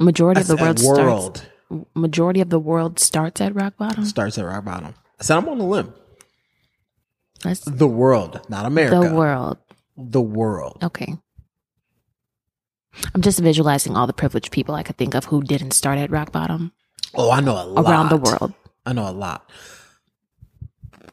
Majority of the world, At world starts. Majority of the world starts at rock bottom. starts at rock bottom. I said I'm on a limb. That's The world, not America. the world. the world. Okay. I'm just visualizing all the privileged people I could think of who didn't start at rock bottom Oh, I know a lot. around the world. I know a lot.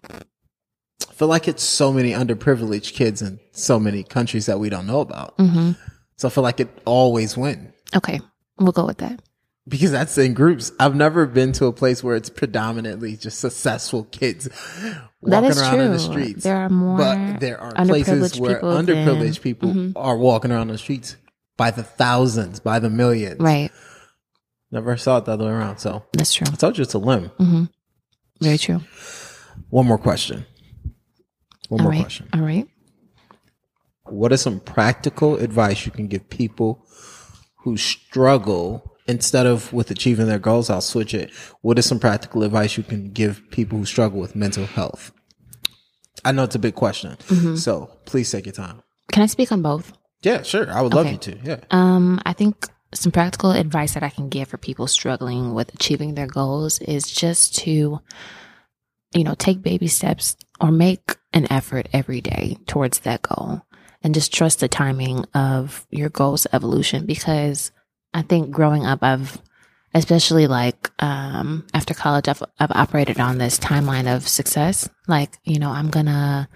I feel like it's so many underprivileged kids in so many countries that we don't know about. hmm So I feel like it always win Okay, we'll go with that. because that's in groups. I've never been to a place where it's predominantly just successful kids That walking is around true. in the streets. There are more, but there are places underprivileged where people than- underprivileged people Mhm. are walking around the streets by the thousands, by the millions. right? Never saw it the other way around. So That's true. I told you it's a limb. hmm Very true. One more question. One All more right. question. All right. What is some practical advice you can give people who struggle instead of with achieving their goals? I'll switch it. What is some practical advice you can give people who struggle with mental health? I know it's a big question, Mm-hmm. so please take your time. Can I speak on both? Yeah, sure. I would love Okay. you to. Yeah. Um, I think some practical advice that I can give for people struggling with achieving their goals is just to, you know, take baby steps or make an effort every day towards that goal and just trust the timing of your goals evolution because I think growing up, I've especially like um, after college, I've, I've operated on this timeline of success. Like, you know, I'm gonna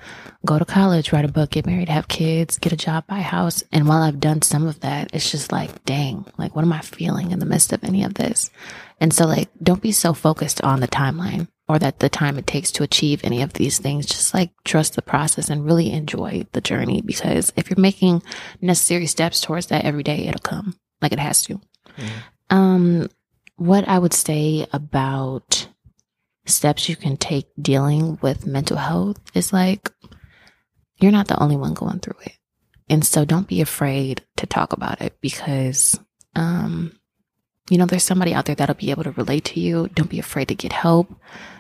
go to college, write a book, get married, have kids, get a job, buy a house. And while I've done some of that, it's just like, dang, like, what am I feeling in the midst of any of this? And so, like, don't be so focused on the timeline or that the time it takes to achieve any of these things. Just like trust the process and really enjoy the journey because if you're making necessary steps towards that every day, it'll come like it has to. Um, what I would say about steps you can take dealing with mental health is like you're not the only one going through it. And so don't be afraid to talk about it because um you know there's somebody out there that'll be able to relate to you. Don't be afraid to get help.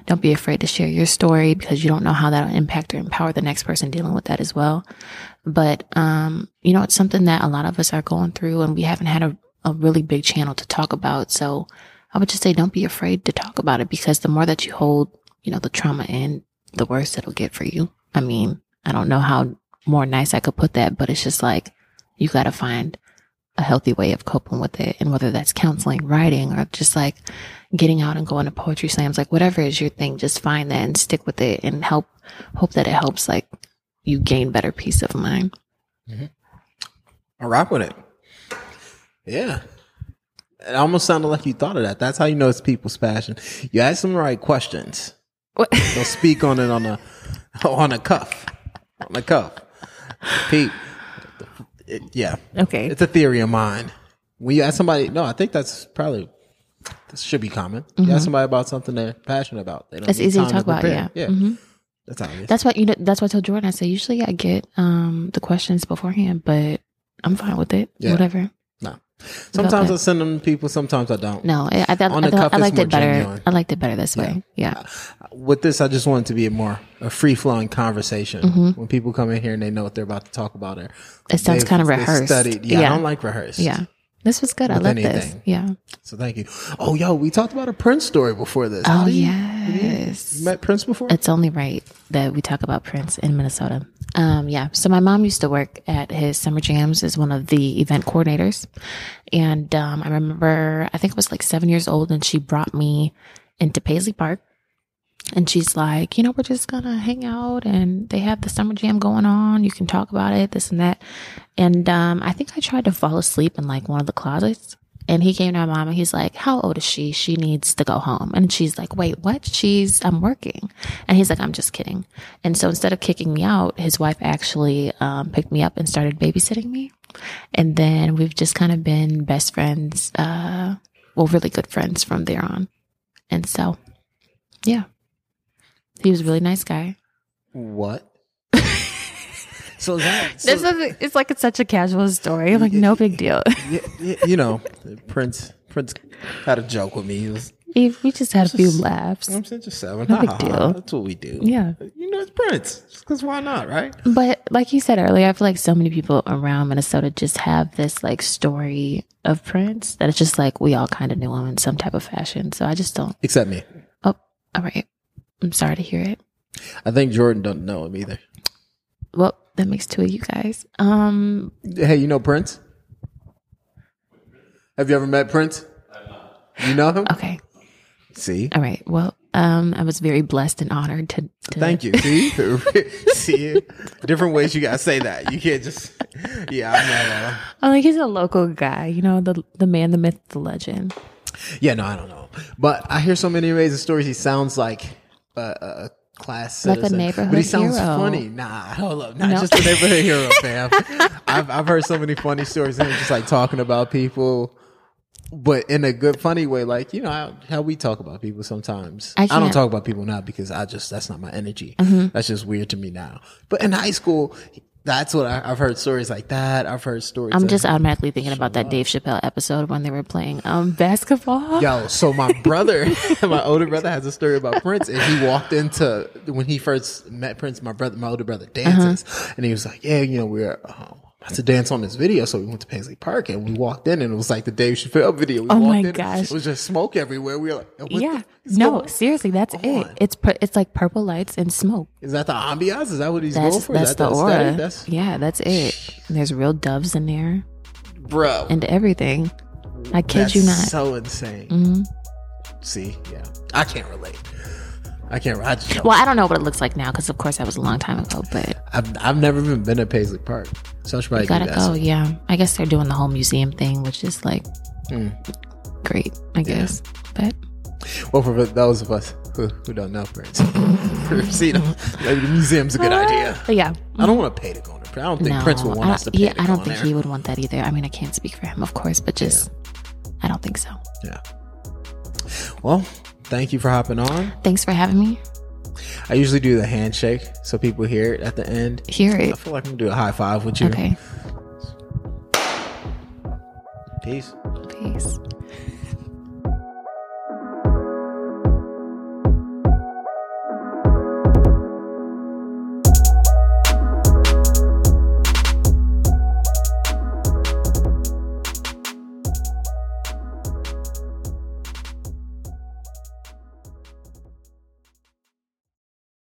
Don't be afraid to share your story because you don't know how that'll impact or empower the next person dealing with that as well. But um you know it's something that a lot of us are going through and we haven't had a, a really big channel to talk about. So I would just say don't be afraid to talk about it because the more that you hold, you know, the trauma in, the worse it'll get for you. I mean, I don't know how more nice I could put that, but it's just like you got to find a healthy way of coping with it. And whether that's counseling, writing, or just like getting out and going to poetry slams, like whatever is your thing, just find that and stick with it and help, hope that it helps like you gain better peace of mind. I rock with it. Yeah. It almost sounded like you thought of that. That's how you know it's people's passion. You ask them the right questions. What? They'll speak on it on a on a cuff. On a cuff. Pete. It- yeah. Okay. It's a theory of mine. When you ask somebody no, I think that's probably this should be common. You ask somebody about something they're passionate about. They don't It's need Mm-hmm. easy to time talk about, prepare. yeah. Yeah. Mhm. That's obvious. That's what you know. That's why I told Jordan. I said usually I get um the questions beforehand, but I'm fine with it. Yeah. Whatever. no. Sometimes that. I send them to people, sometimes I don't. No, I, I, thought- On I, the thought- cuff I is liked more it better. genuine. I liked it better this way. Yeah. with this, I just want it to be a more a free flowing conversation. When people come in here and they know what they're about to talk about, or Mm-hmm. It sounds they've- kind of they rehearsed. Studied. Yeah, Yeah. I don't like rehearsed. Yeah. This was good. I With love this. anything. Yeah. So thank you. Oh, yo, we talked about a Prince story before this. Oh How do you- yes. You met Prince before? It's only right that we talk about Prince in Minnesota. Um, yeah. So my mom used to work at his summer jams as one of the event coordinators. And um, I remember, I think I was like seven years old, and she brought me into Paisley Park. And she's like, you know, we're just going to hang out and they have the summer jam going on. You can talk about it, this and that. And um, I think I tried to fall asleep in like one of the closets. And he came to my mom and he's like, how old is she? She needs to go home. And she's like, wait, what? She's, I'm working. And he's like, I'm just kidding. And so instead of kicking me out, his wife actually um, picked me up and started babysitting me. And then we've just kind of been best friends, uh, well, really good friends from there on. And so, yeah. He was a really nice guy. What? so that so, This is it's like it's such a casual story. Like no big deal. y- y- you know, Prince Prince had a joke with me. He was We we just had a few laughs. I'm saying just seven. big Ha, ha, deal. ha. That's what we do. Yeah. Mm-hmm. You know, it's Prince. Because why not, right? But like you said earlier, I feel like so many people around Minnesota just have this like story of Prince that it's just like we all kind of knew him in some type of fashion. So I just don't. Except me. Oh, all right. I'm sorry to hear it. I think Jordan doesn't know him either. Well, that makes two of you guys. Um, Hey, you know Prince? Have you ever met Prince? You know him? okay. See? All right. Well, um, I was very blessed and honored to, to Thank you. See? See? Different ways you got to say that. You can't just, yeah, I know. I'm Oh, like he's a local guy, you know, the the man, the myth, the legend. Yeah, no, I don't know. But I hear so many amazing stories. He sounds like a, a a class Like a citizen. neighborhood but he sounds hero. funny. Nah, hold up, not No. just a neighborhood hero, fam. I've I've heard so many funny stories. Him just like talking about people, but in a good funny way. Like you know how, how we talk about people sometimes. I I, don't can't- Mm-hmm. talk about people now because I just that's not my energy. That's just weird to me now. But in high school. That's what I, I've heard stories like that. I've heard stories. I'm of- just automatically thinking about that Dave Chappelle episode when they were playing um basketball. Yo, so my brother, my older brother has a story about Prince, and he walked into when he first met Prince. My brother, my older brother, Uh-huh. dances, and he was like, "Yeah, you know, we we're um, about to dance on this video." So we went to Paisley Park, and we walked in, and it was like the Dave Chappelle video. We Oh walked my in, gosh. it was just smoke everywhere. We were like, what the Yeah. is No, going- seriously, that's it. on? It's pur- it's like purple lights and smoke. Is that the ambiance? Is that what he's going That's for? that's is that the aesthetic? aura. That's yeah, that's it. And there's real doves in there bro. and everything. I kid that's you not. Mm-hmm. So insane. See, yeah, I can't relate. I can't. I just don't well, I don't know what it looks like now because of course that was a long time ago, but I've, I've never even been to Paisley Park, so I should probably you gotta do that. go. soon. Yeah, I guess they're doing the whole museum thing, which is like Hmm. great, I guess. But Well, for those of us who, who don't know Prince, see them, maybe the museum's a good idea. But yeah, I don't want to pay to go in there. I don't think Prince would want I us to don't- pay yeah, to I go don't in think there. he would want that either. I mean, I can't speak for him, of course, but just I don't think so. Yeah. Well, thank you for hopping on. Thanks for having me. I usually do the handshake so people hear it at the end. Hear I it. feel like I'm gonna do a high five with you. Okay. Peace. Peace.